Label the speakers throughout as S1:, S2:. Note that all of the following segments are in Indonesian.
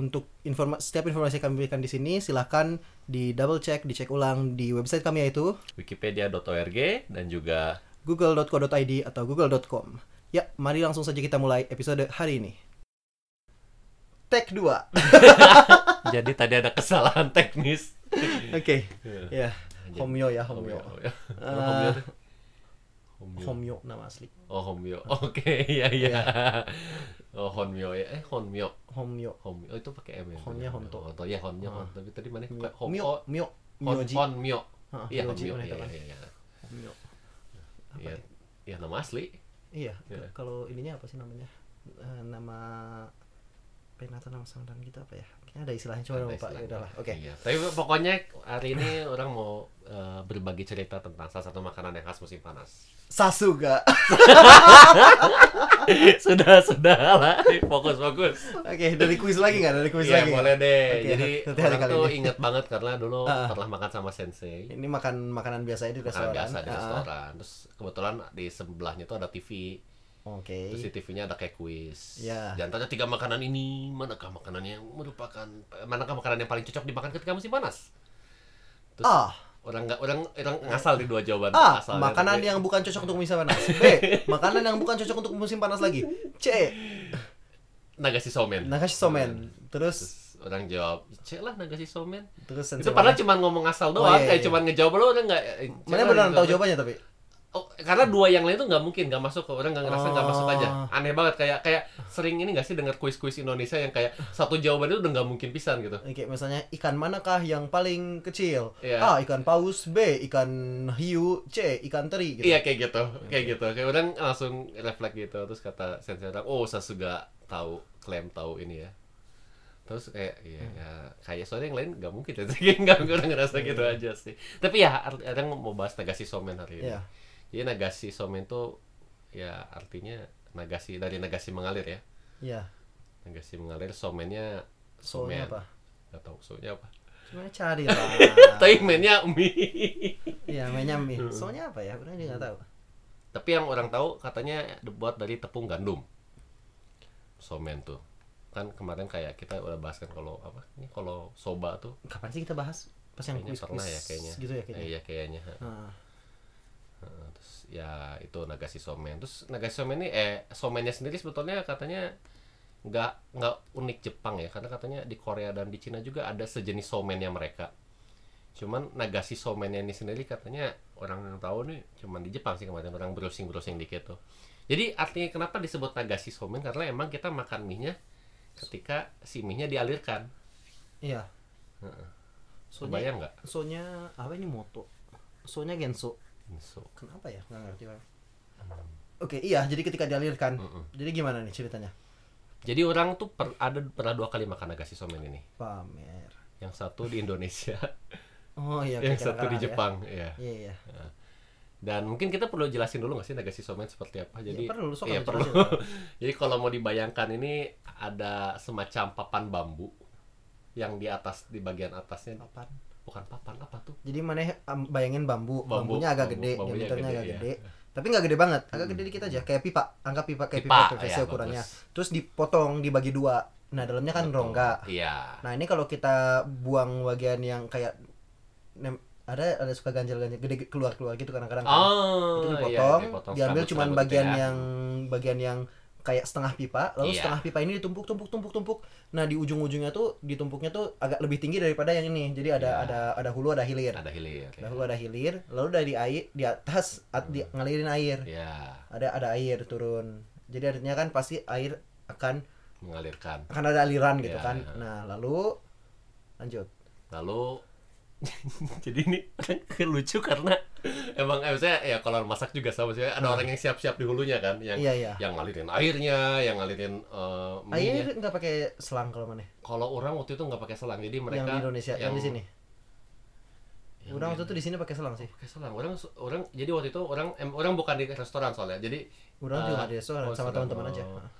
S1: untuk informa setiap informasi yang kami berikan di sini silahkan di double check, dicek ulang di website kami yaitu
S2: Wikipedia.org dan juga
S1: google.co.id atau google.com. Ya, mari langsung saja kita mulai episode hari ini. Tag 2. Oke.
S2: Iya. jadi tadi ada kesalahan teknis.
S1: Ya, Homyo ya, Homyo.
S2: ya.
S1: Ah.
S2: Iya. Homyo. tuh. Homyo.
S1: Homyo nama asli.
S2: Oh, Homyo. Oke, iya iya. Oh, Honmyo ya. Eh, Honmyo.
S1: Homyo.
S2: Homyo oh, itu pakai M ya.
S1: Honnya Honto. Ah.
S2: Honto. Ya, Honnya Honto. Tapi tadi mana?
S1: Myo,
S2: Hom-
S1: Myo,
S2: oh,
S1: Myo,
S2: Hon,
S1: Myoji.
S2: Honmyo.
S1: Ah,
S2: Iya,
S1: Myoji
S2: Honmyo.
S1: mana
S2: Iya,
S1: itu kan?
S2: iya, iya.
S1: Homyo. Apa
S2: Iya.
S1: ya?
S2: Iya, nama asli.
S1: Iya, ke-
S2: Iya.
S1: kalau ininya apa sih namanya? Eh, nama penata nama samaran kita apa ya? Kayaknya ada istilahnya cuma
S2: Ada
S1: lupa. Ya
S2: istilahnya.
S1: udahlah. Oke.
S2: Iya. Tapi pokoknya hari ini orang mau eh, berbagi cerita tentang salah satu makanan yang khas musim panas.
S1: Sasuga.
S2: sudah, sudah lah. Fokus, fokus.
S1: Oke, dari kuis lagi nggak? Dari kuis
S2: Iya,
S1: lagi. nggak?
S2: boleh deh.
S1: Oke,
S2: Jadi
S1: hati-hati
S2: orang
S1: kali
S2: tuh
S1: ini.
S2: inget banget karena dulu
S1: Ah.
S2: pernah makan sama sensei.
S1: Ini makan makanan biasa di
S2: Makanan
S1: restoran.
S2: biasa di
S1: Ah,
S2: restoran. Terus kebetulan di sebelahnya tuh ada TV.
S1: Oke.
S2: Terus di TV-nya ada kayak kuis.
S1: Iya.
S2: Di antara tiga makanan ini, manakah makanannya yang merupakan manakah makanan yang paling cocok dimakan ketika musim panas? Terus
S1: Ah.
S2: orang nggak orang orang ngasal di dua jawaban
S1: A. Ah,
S2: Asalnya,
S1: Makanan
S2: tapi- ya.
S1: yang bukan cocok untuk musim panas. B. Makanan yang bukan cocok untuk musim panas lagi. C.
S2: nagasi somen
S1: Nakashi somen. Terus
S2: Terus orang jawab cek lah nagasi somen
S1: terus
S2: itu
S1: sensei
S2: padahal
S1: mana?
S2: cuma ngomong asal
S1: Oh,
S2: doang
S1: iya,
S2: kayak
S1: iya.
S2: cuma ngejawab lo orang nggak eh, cek
S1: Mana
S2: lah,
S1: beneran tahu
S2: nggak-
S1: jawabannya tapi?
S2: oh, karena dua yang lain tuh nggak mungkin nggak masuk orang nggak ngerasa nggak masuk
S1: Oh.
S2: aja aneh banget kayak kayak sering ini nggak sih dengar kuis-kuis Indonesia yang kayak satu jawaban itu udah nggak mungkin pisan gitu
S1: Oke, misalnya ikan manakah yang paling kecil?
S2: Iya.
S1: A. Ikan paus, B. Ikan hiu, C. Ikan teri gitu.
S2: Iya kayak gitu, kayak gitu. Kayak orang langsung refleks gitu, terus kata sensei orang, oh Sasuga tahu, klaim tahu ini ya. Terus kayak, iya
S1: Hmm.
S2: ya, kayak soalnya yang lain nggak mungkin ya, Jadi nggak orang ngerasa gitu aja sih. Tapi ya, art- orang mau bahas nagasi somen hari ini.
S1: Iya.
S2: Jadi nagasi somen tuh, ya artinya nagasi dari nagasi mengalir ya,
S1: Iya.
S2: nagasi mengalir somennya
S1: Soalnya apa?
S2: Gak tau soalnya apa.
S1: Cuma cari lah.
S2: Tapi Hmm. mainnya mie.
S1: Iya, mainnya mie. Soalnya apa ya? Benar juga nggak tahu.
S2: Tapi yang orang tahu katanya dibuat dari tepung gandum. Somen tuh. Kan kemarin kayak kita udah bahas kan kalau apa? Ini kalau soba tuh
S1: Kapan sih kita bahas? Pas yang
S2: kayaknya
S1: kuis
S2: pernah ya kayaknya.
S1: gitu ya
S2: Eh,
S1: kayaknya.
S2: Iya kayaknya. ha.
S1: Ah.
S2: Heeh, Terus ya itu nagasi somen. Terus nagasi somen ini eh somennya sendiri sebetulnya katanya nggak nggak unik Jepang ya karena katanya di Korea dan di Cina juga ada sejenis somennya mereka. Cuman nagasi somennya ini sendiri katanya orang yang tahu nih cuman di Jepang sih kemarin orang browsing-browsing dikit tuh. Jadi artinya kenapa disebut nagasi somen karena emang kita makan mie-nya ketika si mie-nya dialirkan.
S1: Iya.
S2: Heeh.
S1: Soalnya
S2: Kebayang nggak?
S1: soalnya apa ini moto? Soalnya genso.
S2: So,
S1: Kenapa ya? Nggak ngerti Bang. Oke, iya. Jadi ketika dialirkan,
S2: Mm-mm.
S1: jadi gimana nih ceritanya?
S2: Jadi orang tuh per- ada pernah dua kali makan nagasi somen ini.
S1: Pamer.
S2: yang satu di Indonesia,
S1: Oh iya.
S2: yang
S1: kira-kira
S2: satu di
S1: ada ya.
S2: Jepang, ya.
S1: Iya iya.
S2: Dan mungkin kita perlu jelasin dulu nggak sih nagasi somen seperti apa. Jadi
S1: Iya, perlu, sok
S2: iya,
S1: aja
S2: perlu.
S1: jelasin.
S2: Jadi kalau mau dibayangkan ini ada semacam papan bambu yang di atas di bagian atasnya
S1: Papan.
S2: bukan papan apa tuh?
S1: Jadi mana um, bayangin bambu,
S2: Bambu,
S1: bambunya agak
S2: bambu,
S1: gede,
S2: bambunya
S1: diameternya
S2: gede,
S1: agak
S2: iya.
S1: gede. Tapi nggak gede banget, agak gede dikit aja, kayak pipa, anggap pipa kayak pipa,
S2: Pipa,
S1: PVC
S2: iya,
S1: ukurannya.
S2: bagus.
S1: Terus dipotong, dibagi dua. Nah dalamnya kan
S2: Betul.
S1: rongga.
S2: Iya.
S1: Nah ini kalau kita buang bagian yang kayak nem- ada ada suka ganjel-ganjel gede keluar-keluar gitu kadang-kadang. kan.
S2: Oh,
S1: itu
S2: iya,
S1: dipotong, diambil
S2: serabut-serabut
S1: cuman
S2: gitu
S1: bagian
S2: ya.
S1: yang bagian yang kayak setengah pipa, lalu
S2: Iya.
S1: setengah pipa ini ditumpuk tumpuk tumpuk tumpuk. Nah, di ujung-ujungnya tuh ditumpuknya tuh agak lebih tinggi daripada yang ini. Jadi ada
S2: Iya.
S1: ada ada hulu, ada hilir.
S2: ada hilir.
S1: Ada hulu, ada hilir, lalu dari air di atas at- di, ngalirin air.
S2: Hmm. Iya,
S1: Ada ada air turun. Jadi artinya kan pasti air akan
S2: mengalirkan.
S1: akan ada aliran gitu
S2: Iya.
S1: kan. Nah, lalu lanjut.
S2: Lalu jadi ini kan lucu karena emang eh, saya ya kalau masak juga sama sih ada orang yang siap-siap di hulunya kan yang
S1: Hmm. Iya, iya.
S2: yang ngalirin airnya yang ngalirin eh, minyak
S1: Akhirnya nggak pakai selang kalau mana?
S2: kalau orang waktu itu nggak pakai selang jadi mereka
S1: Yang di Indonesia, yang, di sini.
S2: yang
S1: Udah
S2: di-
S1: waktu itu di sini pakai selang sih.
S2: pakai selang orang orang jadi waktu itu orang em, orang bukan di restoran soalnya jadi
S1: Udah juga
S2: eh,
S1: nggak di restoran,
S2: oh,
S1: sama
S2: sudah,
S1: teman-teman aja.
S2: oh.
S1: Ah,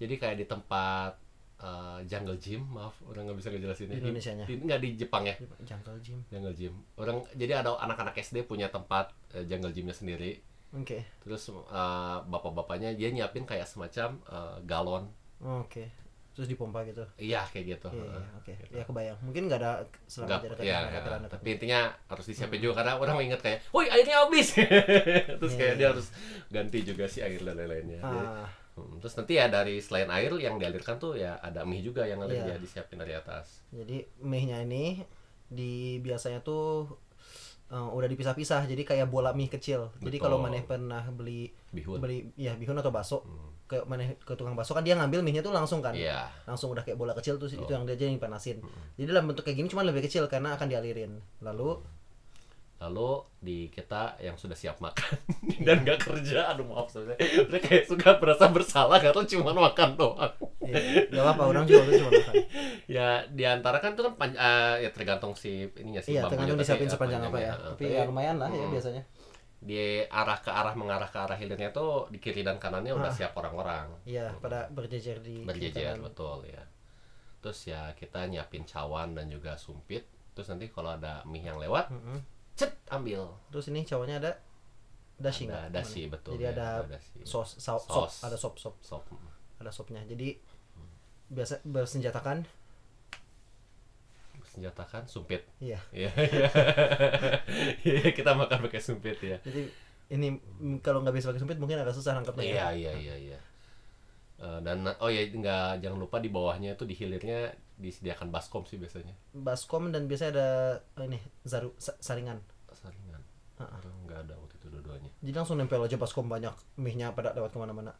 S2: jadi kayak di tempat eh, jungle gym maaf orang nggak bisa ngejelasinnya
S1: Di Indonesianya.
S2: di, nggak di Jepang ya
S1: Jungle gym.
S2: jungle gym orang jadi ada anak-anak SD punya tempat eh, jungle gymnya sendiri
S1: Oke.
S2: terus eh, bapak-bapaknya dia nyiapin kayak semacam eh, galon
S1: Oke. Terus dipompa gitu.
S2: iya kayak gitu
S1: Iya, iya,
S2: Heeh.
S1: oke. Ya kebayang. Mungkin nggak ada selang
S2: Nggak-
S1: aja dekat
S2: iya,
S1: dekat
S2: iya.
S1: dekat-
S2: tapi intinya harus disiapin juga karena orang ingat kayak, woi airnya habis, terus
S1: Hmm. Iya,
S2: kayak
S1: iya.
S2: dia harus ganti juga sih air dan lain-lainnya. Jadi,
S1: Ah,
S2: hmm, terus nanti ya dari selain air yang dialirkan tuh ya ada mie juga yang nanti
S1: Iya.
S2: dia disiapin dari atas.
S1: jadi mie-nya ini di biasanya tuh eh, udah dipisah-pisah jadi kayak bola mie kecil. Jadi
S2: Betul.
S1: kalau maneh pernah beli
S2: Bihun.
S1: beli ya bihun atau bakso
S2: Hmm.
S1: ke maneh ke tukang bakso kan dia ngambil mie-nya tuh langsung kan.
S2: Iya.
S1: langsung udah kayak bola kecil tuh itu
S2: Betul.
S1: yang dia aja yang panasin.
S2: Hmm.
S1: Jadi dalam bentuk kayak gini cuma lebih kecil karena akan dialirin. Lalu
S2: Lalu di kita yang sudah siap makan dan nggak kerja, aduh maaf sebenarnya, udah kayak suka merasa bersalah karena cuma makan doang.
S1: ya, gak apa-apa orang juga waktu itu cuma makan.
S2: ya diantara kan itu kan pan- eh, ya tergantung si ininya sih.
S1: Iya,
S2: bambunya,
S1: tergantung
S2: tapi,
S1: disiapin
S2: eh,
S1: sepanjang apa ya.
S2: panjangnya. Eh,
S1: Tapi ya lumayan lah ya
S2: Hmm.
S1: biasanya.
S2: di arah ke arah mengarah ke arah hilirnya tuh di kiri dan kanannya udah siap orang-orang
S1: Ah. Iya, pada berjejer di
S2: Hmm. berjejer
S1: tangan.
S2: betul ya terus ya kita nyiapin cawan dan juga sumpit terus nanti kalau ada mie yang lewat
S1: Mm-mm.
S2: cet ambil
S1: Hmm. Terus ini cowoknya ada dashi
S2: ada
S1: nggak?
S2: dasi
S1: Teman?
S2: betul
S1: Jadi
S2: ya,
S1: ada
S2: dasi.
S1: sos, sau- sop,
S2: Sos. Hmm.
S1: ada sop, sop,
S2: sop
S1: ada sopnya. Jadi biasa bersenjatakan.
S2: senjatakan sumpit
S1: Iya.
S2: Iya, iya. Iya, kita makan pakai sumpit ya
S1: Jadi ini mm, kalau nggak bisa pakai sumpit mungkin agak susah nangkapnya. ya.
S2: iya iya iya iya Eh, dan oh ya nggak jangan lupa di bawahnya itu di hilirnya disediakan baskom sih biasanya
S1: Baskom dan biasanya ada eh, ini zaru sa- saringan.
S2: saringan
S1: Ha-ha.
S2: Orang nggak ada waktu itu dua-duanya
S1: Jadi langsung nempel aja baskom banyak mie-nya pada lewat kemana-mana.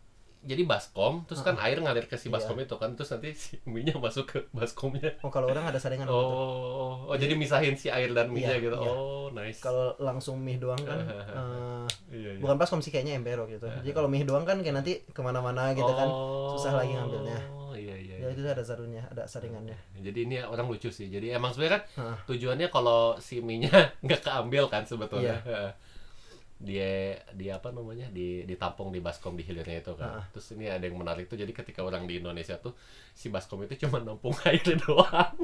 S2: jadi baskom terus kan air ngalir ke si
S1: Iya.
S2: baskom itu kan terus nanti si mie-nya masuk ke baskomnya
S1: Oh kalau orang ada saringan.
S2: oh, oh, oh, jadi misahin si air dan mie-nya
S1: Iya,
S2: gitu
S1: iya.
S2: oh nice
S1: Kalau langsung mie doang kan, eh,
S2: iya, iya.
S1: bukan baskom sih kayaknya ember waktu itu. Jadi kalau mie doang kan kayak nanti kemana-mana gitu kan, susah lagi ngambilnya.
S2: oh iya iya,
S1: Ya
S2: iya.
S1: itu ada zarunya, ada saringannya.
S2: jadi ini ya orang lucu sih jadi emang sebenarnya kan
S1: Heeh.
S2: tujuannya kalau si mie-nya nggak keambil kan sebetulnya dia dia apa namanya di ditampung di baskom di hilirnya itu kan terus ini ada yang menarik tuh jadi ketika orang di Indonesia tuh si baskom itu cuma nampung air doang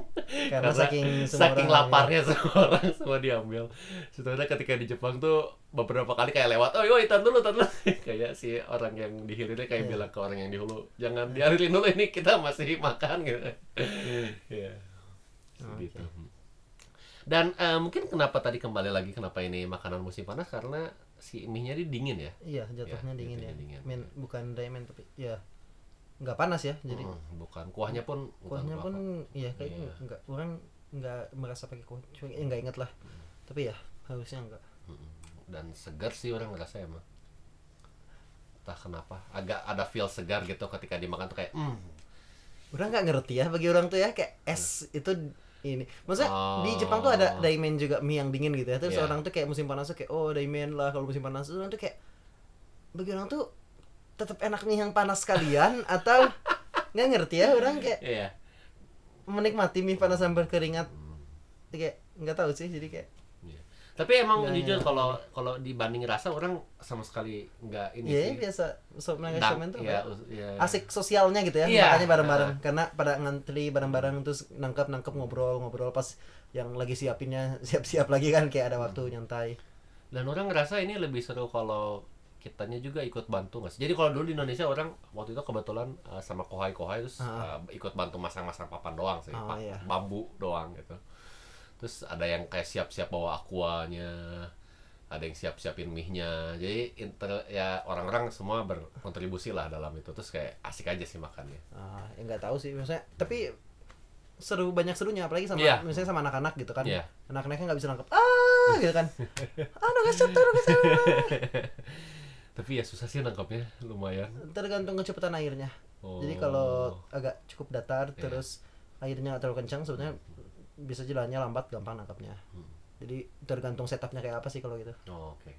S1: Karena saking semua
S2: saking
S1: orang-
S2: laparnya semua orang semua diambil sebenarnya ketika di Jepang tuh beberapa kali kayak lewat oh yoi tar dulu tar dulu kayak si orang yang di
S1: Iya.
S2: hilirnya kayak bilang ke orang yang di hulu jangan dialirin dulu ini kita masih makan gitu
S1: Hmm.
S2: Iya. Gitu. Dan eh, mungkin kenapa tadi kembali lagi kenapa ini makanan musim panas karena si mie-nya ini dingin ya.
S1: Iya jatuhnya
S2: Iya,
S1: dingin ya.
S2: jatuhnya dingin.
S1: Men bukan diamond tapi ya nggak panas ya. Jadi
S2: Mm, bukan kuahnya pun bukan
S1: kuahnya
S2: apa-apa.
S1: pun ya kayaknya
S2: Iya.
S1: nggak orang nggak merasa pakai kuah. Cuma eh, nggak inget lah.
S2: Hmm.
S1: Tapi ya harusnya nggak.
S2: Mm, dan segar sih orang ngerasa emang. Entah kenapa agak ada feel segar gitu ketika dimakan tuh kayak mm.
S1: Orang nggak ngerti ya bagi orang tuh ya kayak es itu ini. Maksudnya
S2: Oh.
S1: di Jepang tuh ada daimen juga mie yang dingin gitu ya. Terus
S2: Iya.
S1: orang tuh kayak musim panas tuh kayak oh daimen lah kalau musim panas. Terus orang tuh kayak bagi orang tuh tetap enaknya yang panas sekalian atau nggak ngerti ya orang kayak
S2: Iya.
S1: menikmati mie panas sambil keringat kayak nggak tahu sih jadi kayak
S2: Iya. Tapi emang
S1: Iya,
S2: jujur
S1: iya.
S2: kalau kalau dibanding rasa orang sama sekali nggak ini
S1: ya
S2: sih.
S1: biasa sob naga
S2: Dan-
S1: shaman tuh
S2: iya,
S1: apa ya?
S2: us- iya.
S1: asik sosialnya gitu ya
S2: Iya.
S1: makanya bareng-bareng karena pada ngantri bareng-bareng terus nangkap nangkap ngobrol ngobrol pas yang lagi siapinnya siap-siap lagi kan kayak ada waktu nyantai
S2: dan orang ngerasa ini lebih seru kalau kitanya juga ikut bantu nggak sih? Jadi kalau dulu di Indonesia orang waktu itu kebetulan uh, sama kohai kohai terus
S1: Ah.
S2: uh, ikut bantu masang-masang papan doang sih,
S1: Ah,
S2: pa-
S1: iya.
S2: bambu doang gitu. Terus ada yang kayak siap-siap bawa akuanya, ada yang siap-siapin mie-nya. Jadi inter ya orang-orang semua berkontribusi lah dalam itu. Terus kayak asik aja sih makannya.
S1: ah ya nggak tahu sih maksudnya tapi seru banyak serunya apalagi sama
S2: Iya.
S1: misalnya sama anak-anak gitu kan
S2: Iya.
S1: anak-anaknya nggak bisa nangkap ah gitu kan ah naga shaman, naga shaman.
S2: Tapi ya susah sih nangkapnya, lumayan.
S1: tergantung kecepatan airnya Jadi
S2: Oh.
S1: kalau agak cukup datar
S2: Iya.
S1: terus airnya nggak terlalu kencang sebenarnya bisa jalannya lambat gampang nangkapnya.
S2: Hmm.
S1: Jadi tergantung setupnya kayak apa sih kalau gitu.
S2: Oh, oke.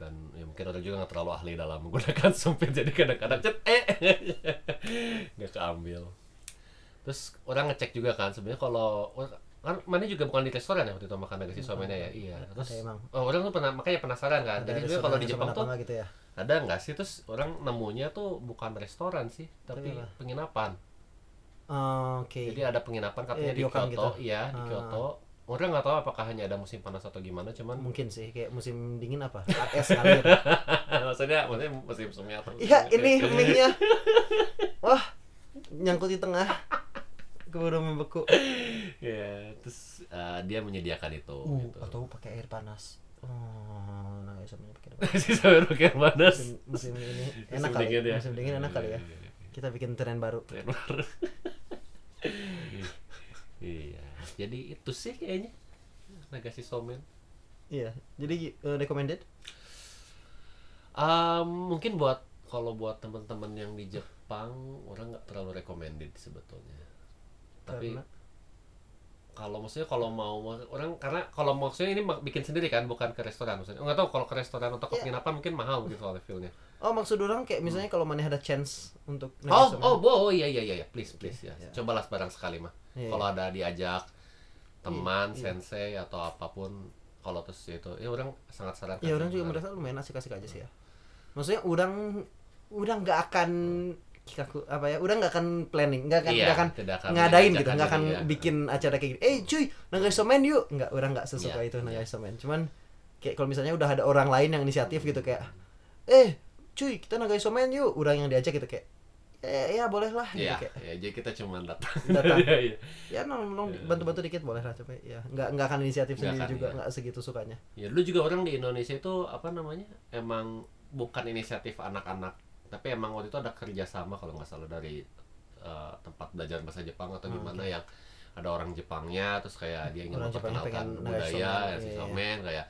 S2: Dan ya mungkin orang juga nggak terlalu ahli dalam menggunakan sumpit jadi kadang-kadang cet eh nggak keambil. Terus orang ngecek juga kan sebenarnya kalau kan mana juga bukan di restoran ya waktu itu makan nasi somennya ya iya terus
S1: Ada Hmm. emang.
S2: oh, orang tuh pernah makanya penasaran kan
S1: Ada
S2: jadi juga kalau di
S1: restoran
S2: Jepang
S1: apa
S2: tuh
S1: nggak gitu ya.
S2: ada nggak sih terus orang nemunya tuh bukan restoran sih tapi
S1: Tapi apa?
S2: penginapan
S1: Oh, Oke.
S2: Jadi ada penginapan katanya
S1: Iya,
S2: di
S1: ryokan
S2: Kyoto,
S1: gitu.
S2: iya di
S1: Ah.
S2: Kyoto. Orang nggak tahu apakah hanya ada musim panas atau gimana, cuman
S1: Mungkin sih kayak musim dingin apa? AS kali. ya.
S2: maksudnya maksudnya musim semi atau
S1: Iya, ini mic-nya. Wah, nyangkut di tengah. Keburu membeku.
S2: Iya, terus eh, dia menyediakan itu
S1: Uh,
S2: gitu.
S1: atau pakai air panas. Oh, nah ya sebenarnya pakai air panas.
S2: si sampai pakai panas.
S1: Musim, musim ini
S2: Musim
S1: enak kali.
S2: dingin ya.
S1: Musim dingin enak kali ya.
S2: Iya, iya, iya.
S1: Kita bikin tren baru.
S2: Tren baru. Iya. Jadi itu sih kayaknya Nagasi Somen.
S1: Iya. Jadi eh, recommended?
S2: Um, mungkin buat kalau buat teman-teman yang di Jepang, orang nggak terlalu recommended sebetulnya. Tapi
S1: Karena
S2: kalau maksudnya kalau mau orang karena kalau maksudnya ini mak- bikin sendiri kan bukan ke restoran maksudnya nggak tahu kalau ke restoran atau
S1: Iya.
S2: ke penginapan mungkin mahal mungkin soalnya feel-nya
S1: Oh maksud orang kayak misalnya kalau mana ada chance untuk
S2: Hmm. oh
S1: nanya sama-
S2: oh bo oh, iya iya iya iya. please please ya
S1: Iya.
S2: cobalah barang sekali mah
S1: Iya.
S2: kalau ada diajak teman
S1: Iya, iya.
S2: sensei atau apapun kalau terus ya itu ya orang sangat sarankan
S1: Ya orang juga merasa lumayan asik-asik aja sih ya. Maksudnya orang orang nggak akan kikaku apa ya, orang nggak akan planning, nggak akan
S2: Iya,
S1: nggak akan
S2: tidak akan
S1: ngadain
S2: mengajak
S1: gitu, nggak akan
S2: aja, iya.
S1: bikin acara kayak gini. Eh cuy, nanggai somen yuk, nggak orang nggak sesuka
S2: Iya,
S1: itu nanggai
S2: iya.
S1: somen. Cuman kayak kalau misalnya udah ada orang lain yang inisiatif gitu kayak, eh cuy kita nanggai somen yuk, orang yang diajak gitu kayak, eh ya boleh lah gitu
S2: ya,
S1: kayak.
S2: ya jadi kita cuma datang
S1: Datang.
S2: Iya, iya.
S1: Ya nolong, nolong bantu-bantu dikit boleh lah tapi ya nggak nggak akan inisiatif
S2: Nggak
S1: sendiri
S2: akan,
S1: juga
S2: iya.
S1: nggak segitu sukanya.
S2: Ya dulu juga orang di Indonesia itu apa namanya emang bukan inisiatif anak-anak, tapi emang waktu itu ada kerjasama kalau nggak salah dari eh, tempat belajar bahasa Jepang atau gimana yang ada orang Jepangnya, terus kayak dia ingin
S1: Oh, Orang Jepangnya
S2: memperkenalkan
S1: pengen
S2: budaya,
S1: nasi
S2: nasi
S1: somen, iya.
S2: somen, kayak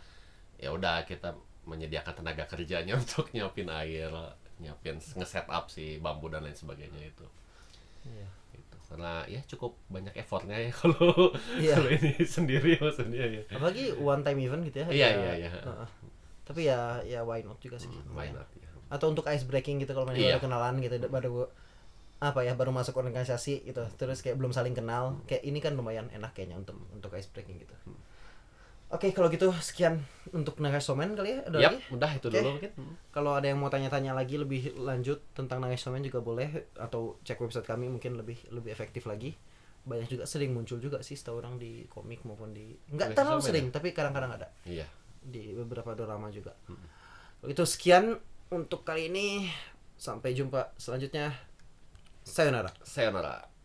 S2: ya udah kita menyediakan tenaga kerjanya untuk nyiapin air, nyiapin nge-set up si bambu dan lain sebagainya itu.
S1: Iya.
S2: Gitu. Karena ya cukup banyak effortnya ya kalau
S1: Iya.
S2: kalau ini sendiri maksudnya ya.
S1: apalagi one time event gitu ya
S2: Iya,
S1: ya,
S2: iya, iya.
S1: heeh. tapi ya ya why not juga sih
S2: Why not ya?
S1: atau untuk ice breaking gitu kalau main
S2: Iya.
S1: baru kenalan gitu baru apa ya baru masuk organisasi gitu terus kayak belum saling
S2: Hmm.
S1: kenal kayak ini kan lumayan enak kayaknya untuk untuk ice breaking gitu oke kalau gitu sekian untuk Nagai Somen kali ya ada
S2: Yap,
S1: lagi
S2: udah itu
S1: Oke.
S2: dulu mungkin. Hmm.
S1: kalau ada yang mau tanya-tanya lagi lebih lanjut tentang Nagai Somen juga boleh atau cek website kami mungkin lebih lebih efektif lagi banyak juga sering muncul juga sih setahu orang di komik maupun di nggak
S2: Nagai
S1: terlalu
S2: Somen
S1: sering tapi kadang-kadang ada
S2: Iya.
S1: di beberapa drama juga. Itu sekian untuk kali ini. Sampai jumpa selanjutnya. Sayonara.
S2: Sayonara.